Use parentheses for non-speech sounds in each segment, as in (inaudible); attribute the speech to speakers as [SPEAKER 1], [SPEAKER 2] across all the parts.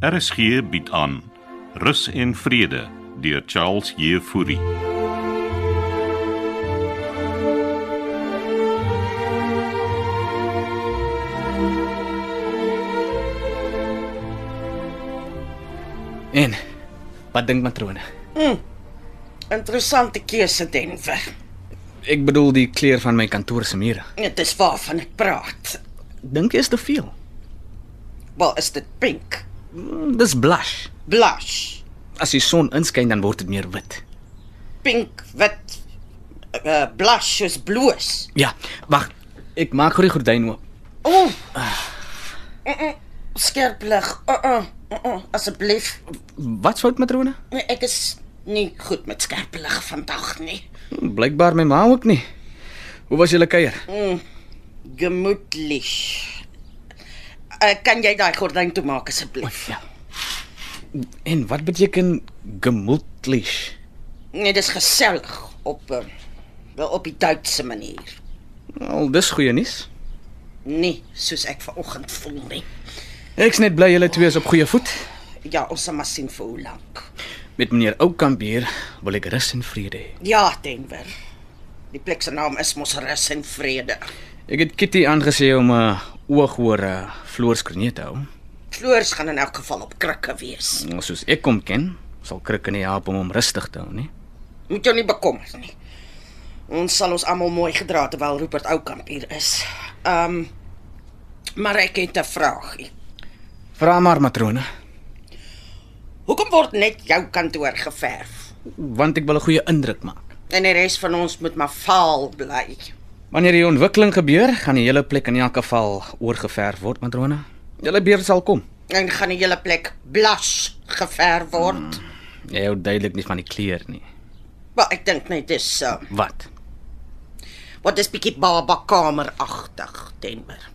[SPEAKER 1] RSG bied aan Rus en Vrede deur Charles Jefouri.
[SPEAKER 2] En wat dink matrone?
[SPEAKER 3] Interessante keuse Denver.
[SPEAKER 2] Ek bedoel die kleur van my kantoor se mure.
[SPEAKER 3] Dit is waarvan ek praat.
[SPEAKER 2] Dink jy is te veel?
[SPEAKER 3] Wel, is dit pink?
[SPEAKER 2] Mm, Dis blush.
[SPEAKER 3] Blush.
[SPEAKER 2] As die son inskyn dan word dit meer wit.
[SPEAKER 3] Pink wit uh, blush is bloos.
[SPEAKER 2] Ja, wag. Ek maak gou die gordyn oop.
[SPEAKER 3] O. Oh. Mm -mm, Skerp lig. Uh uh. Uh uh. Asseblief.
[SPEAKER 2] Wat fout matrone?
[SPEAKER 3] Nee, ek is nie goed met skerp lig vandag nie.
[SPEAKER 2] Hm, Blykbaar my ma ook nie. Hoe was julle kuier?
[SPEAKER 3] Gemoedlich. Uh, kan jy daai gordyn toemaak asseblief?
[SPEAKER 2] Ja. En wat beteken gemoedlich?
[SPEAKER 3] Nee, dis gesellig op uh, wel op die Duitse manier.
[SPEAKER 2] Al dis goeie nuus.
[SPEAKER 3] Nee, soos ek vanoggend voel nie.
[SPEAKER 2] Ek's net bly julle twee is op goeie voet.
[SPEAKER 3] Ja, ons sal maar sien vir hoe lank.
[SPEAKER 2] Met meneer Oukamp hier wil ek rus en vrede hê.
[SPEAKER 3] Ja, Denver. Die plek se naam is mos rus en vrede.
[SPEAKER 2] Ek het Kitty aangesê om 'n oog oor 'n vloerskronie te hou.
[SPEAKER 3] Floors gaan in elk geval op krikke wees.
[SPEAKER 2] Nou, Soos ek hom ken, sal Krik nie help om hom rustig te hou nie.
[SPEAKER 3] Moet jou nie bekommer nie. Ons sal ons almal mooi gedra terwyl Rupert Oukamp hier is. Um maar ek het 'n vraagie.
[SPEAKER 2] Vra maar matrone,
[SPEAKER 3] Hoekom word net jou kantoor geverf?
[SPEAKER 2] want ek wil 'n goeie indruk maak.
[SPEAKER 3] En die res van ons moet maar vaal bly.
[SPEAKER 2] Wanneer die ontwikkeling gebeur, gaan die hele plek in elk geval oorgeverf word, matrone. Julle beurt sal kom.
[SPEAKER 3] En gaan die hele plek blush geverf word. Hmm.
[SPEAKER 2] Jy hou duidelik nie van die kleur nie.
[SPEAKER 3] Maar ek dink net dis so. Uh,
[SPEAKER 2] Wat?
[SPEAKER 3] wat is bietjie baba kameragtig, Denver.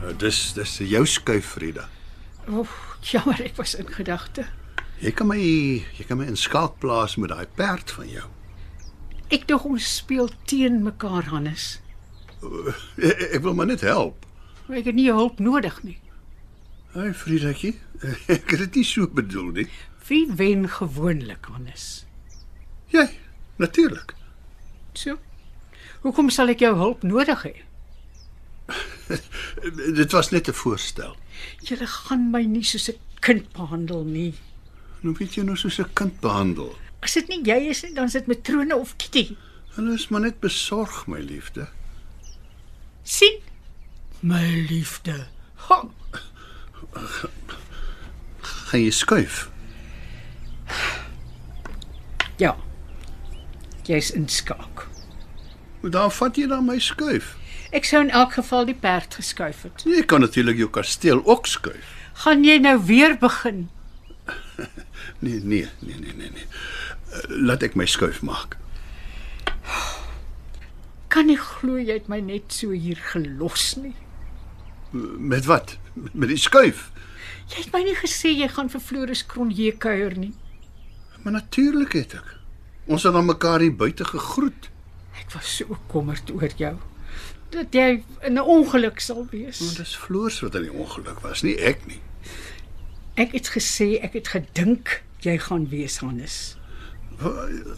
[SPEAKER 4] Nou, Dis dis jou skuif Frida.
[SPEAKER 5] Oef, jammer, ek was in gedagte.
[SPEAKER 4] Jy kan my jy kan my in skaak plaas met daai perd van jou.
[SPEAKER 5] Ek dink ons speel teen mekaar, Hannes.
[SPEAKER 4] Ek, E, ek wil maar net help.
[SPEAKER 5] Maar Ek het nie jou hulp nodig nie.
[SPEAKER 4] Hey Fridatjie, (laughs) ek het dit nie so bedoel nie.
[SPEAKER 5] Wie wen gewoonlik, Hannes?
[SPEAKER 4] Jy, natuurlik.
[SPEAKER 5] So. Hoekom sal ek jou hulp nodig hê?
[SPEAKER 4] Eh, Dit was net 'n voorstel.
[SPEAKER 5] Jy gaan my nie soos 'n kind behandel nie.
[SPEAKER 4] Nou weet jy nou soos 'n kind behandel.
[SPEAKER 5] As dit nie jy is nie, dan sit matrone of Kitty.
[SPEAKER 4] Hulle is maar net besorg, my liefde.
[SPEAKER 5] sien? My liefde. Ha,
[SPEAKER 4] Gaan jy skuif?
[SPEAKER 5] ja. Jy's inskaak.
[SPEAKER 4] Maar dan vat jy dan my skuif.
[SPEAKER 5] Ek sou in elk geval die perd geskuif het.
[SPEAKER 4] Jy kan natuurlik jou kasteel ook skuif.
[SPEAKER 5] Gaan jy nou weer begin?
[SPEAKER 4] Nee, nee, nee, nee, nee, nee. Eh, Laat ek my skuif maak.
[SPEAKER 5] Kan nie glo jy het my net so hier gelos nie.
[SPEAKER 4] Met wat? Met die skuif.
[SPEAKER 5] Jy het my nie gesê jy gaan vir Floris Kronje kuier nie.
[SPEAKER 4] Maar natuurlik het ek. Ons het aan mekaar hier buite gegroet.
[SPEAKER 5] Ek was so bekommerd oor jou dat jy in 'n ongeluk sal
[SPEAKER 4] Want
[SPEAKER 5] wees.
[SPEAKER 4] dis Floors wat in die ongeluk was, nie ek nie.
[SPEAKER 5] Ek het gesê ek het gedink jy gaan wees Hannes.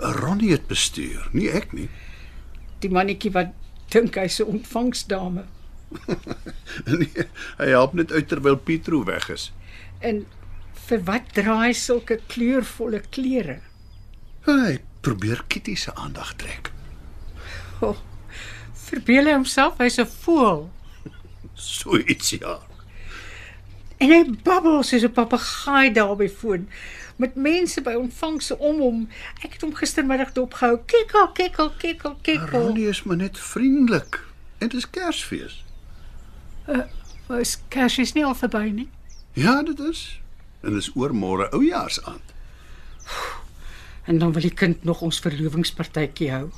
[SPEAKER 4] Ronnie het bestuur, nie ek nie. (laughs)
[SPEAKER 5] Die mannetjie wat dink hy's 'n ontvangsdame
[SPEAKER 4] nee, hy help net uit terwyl Pietro weg is.
[SPEAKER 5] en vir wat dra hy sulke kleurvolle klere?
[SPEAKER 4] Hy probeer Kitty se aandag trek.
[SPEAKER 5] Oh, verbeel hy homself hy's 'n voël
[SPEAKER 4] So iets ja.
[SPEAKER 5] en hy babbel soos 'n papegaai daar by foon met mense by ontvangse om hom. Ek het hom gistermiddag dopgehou. Kikkel, kikkel, kikkel, kikkel.
[SPEAKER 4] Ronnie is maar net vriendelik. En dit is Kersfees.
[SPEAKER 5] Ons kers is nie al verby nie.
[SPEAKER 4] Ja, dit is. En dis oor môre oujaarsaand.
[SPEAKER 5] En dan wil die kind nog ons verlowingspartytjie hou.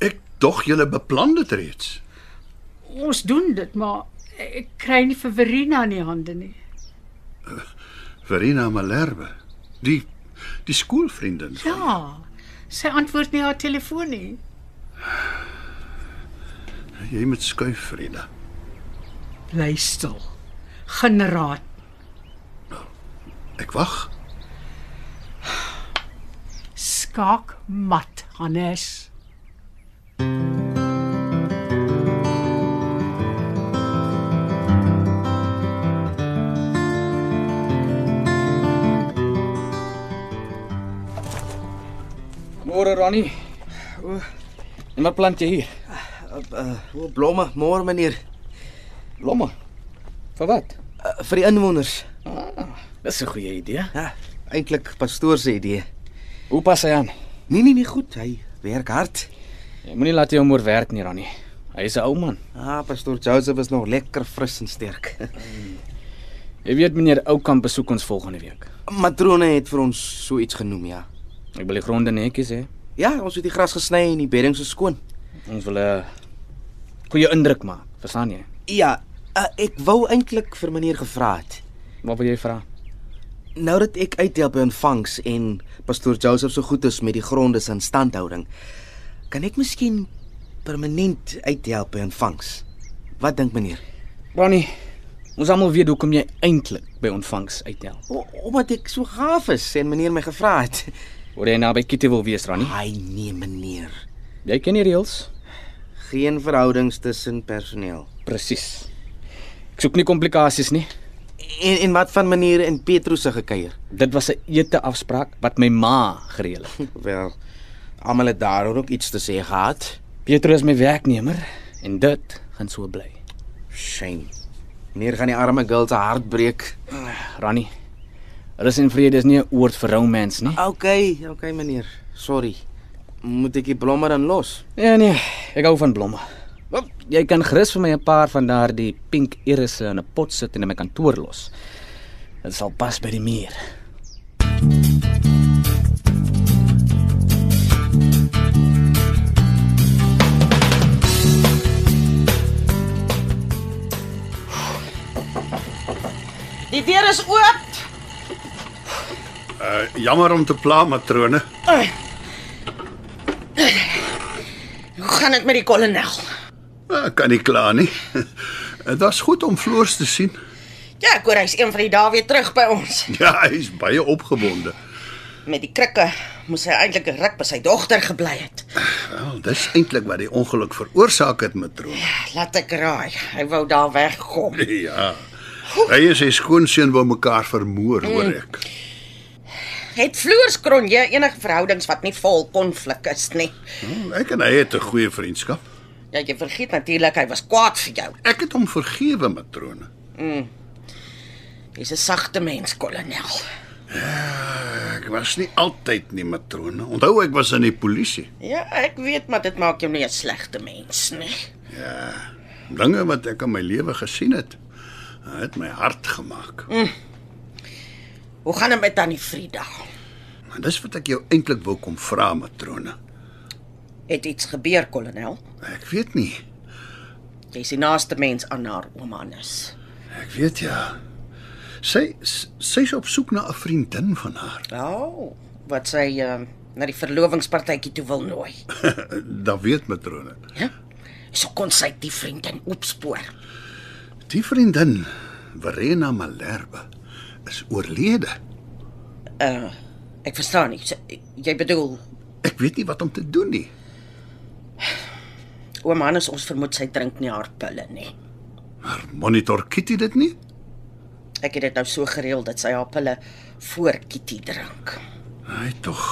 [SPEAKER 4] Ek dog julle beplan dit reeds.
[SPEAKER 5] Ons doen dit, maar ek kry nie vir Verena in die hande nie.
[SPEAKER 4] Verena Malherbe. Die die skoolvriendin. van-
[SPEAKER 5] Ja. Sy antwoord nie haar telefoon nie.
[SPEAKER 4] Jy moet skuif, Frida.
[SPEAKER 5] Bly stil. Generaat.
[SPEAKER 4] Ek wag.
[SPEAKER 5] Skaak mat, Hannes.
[SPEAKER 2] Môre Ronnie. En wat plant jy hier?
[SPEAKER 6] Eh, O, blomme, môre meneer,
[SPEAKER 2] Blomme. Vir wat?
[SPEAKER 6] uh, vir die inwoners.
[SPEAKER 2] Dis 'n goeie idee.
[SPEAKER 6] Ja, eintlik pastoor se idee.
[SPEAKER 2] Hoe pas hy aan?
[SPEAKER 6] Nee nee nee, goed, hy werk hard.
[SPEAKER 2] Jy moenie laat hy hom oor werk nie, Ronnie. Hy is 'n ou man.
[SPEAKER 6] Ah, pastoor Joseph is nog lekker fris en sterk. (laughs)
[SPEAKER 2] Jy weet meneer Oukamp besoek ons volgende week.
[SPEAKER 6] Matrone het vir ons so iets genoem, ja.
[SPEAKER 2] Ek wil die gronde netjies hê.
[SPEAKER 6] Ja, ons het die gras gesny en die bedding so skoon.
[SPEAKER 2] Ons wil 'n goeie indruk maak, verstaan jy?
[SPEAKER 6] Ja, uh, ek wou eintlik vir meneer gevra het.
[SPEAKER 2] Wat wil jy vra?
[SPEAKER 6] Nou dat ek uithelp by ontvangs en pastoor Joseph so goed is met die gronde se instandhouding, kan ek miskien permanent uithelp by ontvangs. Wat dink meneer?
[SPEAKER 2] Ronnie, ons almal weet hoekom jy eintlik by ontvangs uitnel.
[SPEAKER 6] O, omdat ek so gaaf is en meneer my gevra het.
[SPEAKER 2] Hoor jy naby Kitty wil wees, Ronnie?
[SPEAKER 6] Ai nee meneer,
[SPEAKER 2] Jy ken die reëls.
[SPEAKER 6] geen verhoudings tussen personeel.
[SPEAKER 2] Presies. Ek soek nie komplikasies nie.
[SPEAKER 6] En en wat van meneer en Petrus se gekuier?
[SPEAKER 2] Dit was 'n ete afspraak wat my ma gereël het.
[SPEAKER 6] (laughs) Wel, almal het daaroor ook iets te sê gehad.
[SPEAKER 2] Pietro is my werknemer en dit gaan so bly.
[SPEAKER 6] Shame. Meneer gaan die arme girl se hart breek.
[SPEAKER 2] Ronnie, rus en vrede is nie 'n oord vir romance nie.
[SPEAKER 6] OK, OK meneer. Sorry. Moet ek die blomme dan los?
[SPEAKER 2] Nee nee, ek hou van blomme. Wel, Jy kan gerus vir my 'n paar van daardie pink irisse in 'n pot sit en in my kantoor los. Dit sal pas by die muur.
[SPEAKER 3] Die deur is oop.
[SPEAKER 4] Uh, jammer om te pla, matrone.
[SPEAKER 3] Hoe gaan dit met die kolonel?
[SPEAKER 4] Ek Uh, kan nie kla nie. (laughs) Dit was goed om Floors te sien. (laughs)
[SPEAKER 3] Ja, ek hoor hy's een van die dae weer terug by ons.
[SPEAKER 4] Ja, hy's baie opgewonde.
[SPEAKER 3] Met die krikke moes hy eintlik 'n ruk by sy dogter gebly het.
[SPEAKER 4] Wel, dis eintlik wat die ongeluk veroorsaak het, matrone. (laughs)
[SPEAKER 3] Laat ek raai, hy wou daar wegkom.
[SPEAKER 4] Ja. Hy is sy skoonseun wou mekaar vermoor, hoor ek.
[SPEAKER 3] Het Floors Kronje enige verhoudings wat nie vol konflik is nie?
[SPEAKER 4] Hmm, Ek en hy het 'n goeie vriendskap.
[SPEAKER 3] Ja, jy vergeet natuurlik hy was kwaad vir jou.
[SPEAKER 4] Ek het hom vergewe, matrone.
[SPEAKER 3] Hy's 'n sagte mens, kolonel.
[SPEAKER 4] Ek was nie altyd nie matrone. Onthou ek was in die polisie.
[SPEAKER 3] Ja, ek weet maar dit maak jou nie 'n slegte mens nie.
[SPEAKER 4] Dinge wat ek in my lewe gesien het, het my hard gemaak.
[SPEAKER 3] Hoe gaan dit met tannie Frieda?
[SPEAKER 4] Maar dis wat ek jou eintlik wou kom vra, matrone.
[SPEAKER 3] Het iets gebeur, kolonel?
[SPEAKER 4] Ek weet nie.
[SPEAKER 3] Jy's die naaste mens aan haar ouma Hannes.
[SPEAKER 4] Ek weet ja. Sy s- sy's op soek na 'n vriendin van haar.
[SPEAKER 3] Nou, wat sy uh, na die verlovingspartytjie toe wil nooi.
[SPEAKER 4] Dat weet matrone.
[SPEAKER 3] Ja? So kon sy die vriendin opspoor.
[SPEAKER 4] Die vriendin, Verena Malherbe, is oorlede.
[SPEAKER 3] Ek verstaan nie. Sy- Jy bedoel,
[SPEAKER 4] Ek weet nie wat om te doen nie.
[SPEAKER 3] ouma Hannes ons vermoed sy drink nie haar pille nie.
[SPEAKER 4] Monitor Kitty dit nie?
[SPEAKER 3] Ek het dit nou so gereël dat sy haar pille voor Kitty drink.
[SPEAKER 4] Ai tog.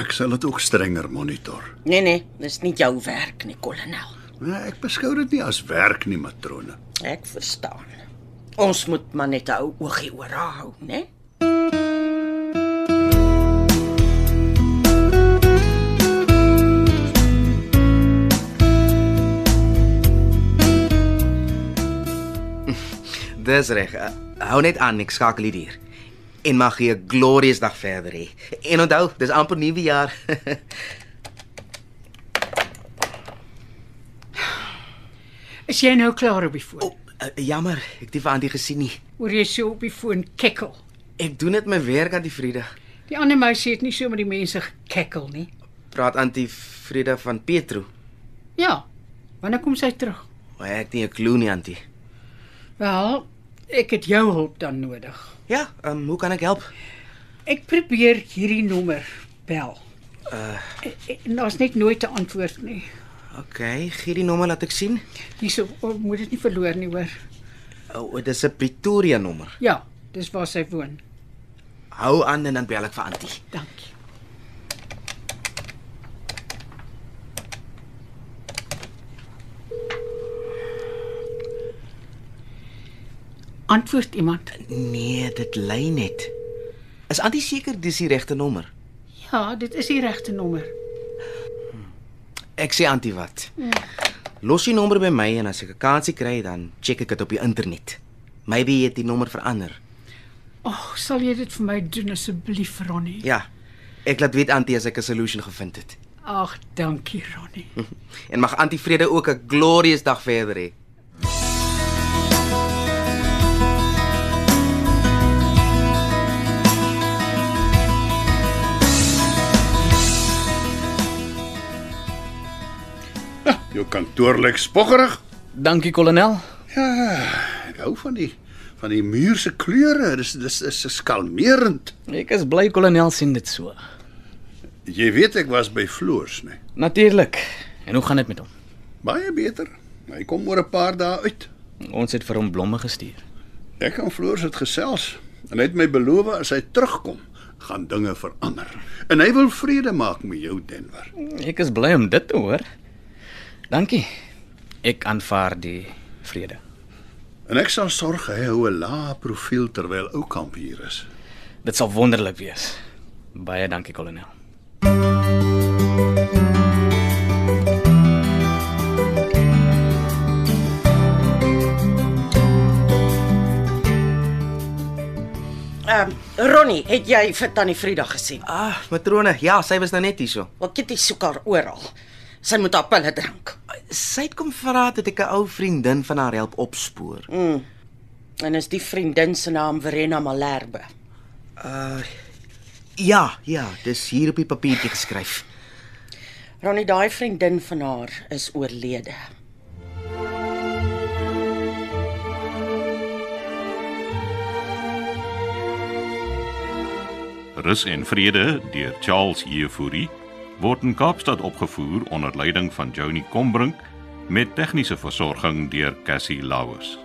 [SPEAKER 4] Ek sal dit ook strenger monitor.
[SPEAKER 3] Nee nee, dis nie jou werk nie, kolonel.
[SPEAKER 4] Maar ek beskou dit nie as werk nie, matrone.
[SPEAKER 3] Ek verstaan. Ons moet maar net 'n ou oogie oor haar hou, né?
[SPEAKER 6] Dis reg. Uh, hou net aan, ek skakel dit hier. En mag jy 'n glorious dag verder hê. En onthou, dis amper nuwe jaar. (laughs)
[SPEAKER 5] Is jy nou klaar op die foon?
[SPEAKER 6] o, uh, jammer, ek het nie vir Antie gesien nie.
[SPEAKER 5] Oor jy so op die foon kekkel.
[SPEAKER 6] Ek doen dit my werk aan die Vrydag.
[SPEAKER 5] Die ander meisie het nie so met die mense gekekkel nie.
[SPEAKER 6] Praat antie Frida van Petro.
[SPEAKER 5] Ja. Wanneer kom sy terug?
[SPEAKER 6] Maar ek het nie 'n klou nie antie.
[SPEAKER 5] Wel, ek het jou hulp dan nodig.
[SPEAKER 6] Ja, ehm um, hoe kan ek help?
[SPEAKER 5] Ek probeer hierdie nommer bel. Uh daar's net nooit 'n antwoord nie.
[SPEAKER 6] OK, gee die nommer laat ek sien.
[SPEAKER 5] Hierso oh, moet dit nie verloor nie hoor.
[SPEAKER 6] O, oh, dis 'n Pretoria nommer.
[SPEAKER 5] Ja, dis waar sy woon.
[SPEAKER 6] Hou aan en dan bel ek vir antie.
[SPEAKER 5] Dankie. Antwoord iemand.
[SPEAKER 6] Nee, dit lei net. Is antie seker dis die regte nommer?
[SPEAKER 5] Ja, dit is die regte nommer.
[SPEAKER 6] Ek sê antie wat. Los die nommer by my en as ek 'n kansie kry dan check ek dit op die internet. Maybe het die nommer verander.
[SPEAKER 5] Ag, oh, sal jy dit vir my doen asseblief, Ronnie?
[SPEAKER 6] Ja. Ek laat weet antie as ek 'n solution gevind het.
[SPEAKER 5] Ag, dankie, Ronnie.
[SPEAKER 6] En mag antie Vrede ook 'n glorious dag verder hê.
[SPEAKER 4] Jou kantoor lyk spoggerig.
[SPEAKER 2] Dankie kolonel.
[SPEAKER 4] Ek hou van die van die muur se kleure. Dis dis dis is kalmerend.
[SPEAKER 2] Ek is bly kolonel sien dit so.
[SPEAKER 4] Jy weet ek was by Floors, né?
[SPEAKER 2] Natuurlik. En hoe gaan dit met hom?
[SPEAKER 4] Baie beter. Hy kom oor 'n paar dae uit.
[SPEAKER 2] Ons het vir hom blomme gestuur.
[SPEAKER 4] Ek en Floors het gesels en hy het my beloof as hy terugkom, gaan dinge verander. En hy wil vrede maak met jou Denver.
[SPEAKER 2] Ek is bly om dit te hoor. Dankie. Ek aanvaar die vrede.
[SPEAKER 4] En ek sal sorg hy hou 'n lae profiel terwyl ou kamp hier is.
[SPEAKER 2] Dit sal wonderlik wees. Baie dankie kolonel.
[SPEAKER 3] Ehm Ronnie, het jy vir Tannie Frieda gesien?
[SPEAKER 6] Ah, matrone, ja, sy was nou net hierso.
[SPEAKER 3] Wat Kitty soek haar oral. Sy moet haar pille drink.
[SPEAKER 6] Sy het kom vra dat ek 'n ou vriendin van haar help opspoor.
[SPEAKER 2] Mm.
[SPEAKER 3] En is die vriendin se naam Verena Malherbe.
[SPEAKER 6] Ja, ja, dis hier op die papiertjie geskryf.
[SPEAKER 3] Ronnie, daai vriendin van haar is oorlede.
[SPEAKER 1] Rus en Vrede deur Charles Jefouri word in Kaapstad opgevoer onder leiding van Johnny Combrink met tegniese versorging deur Cassie Lauers.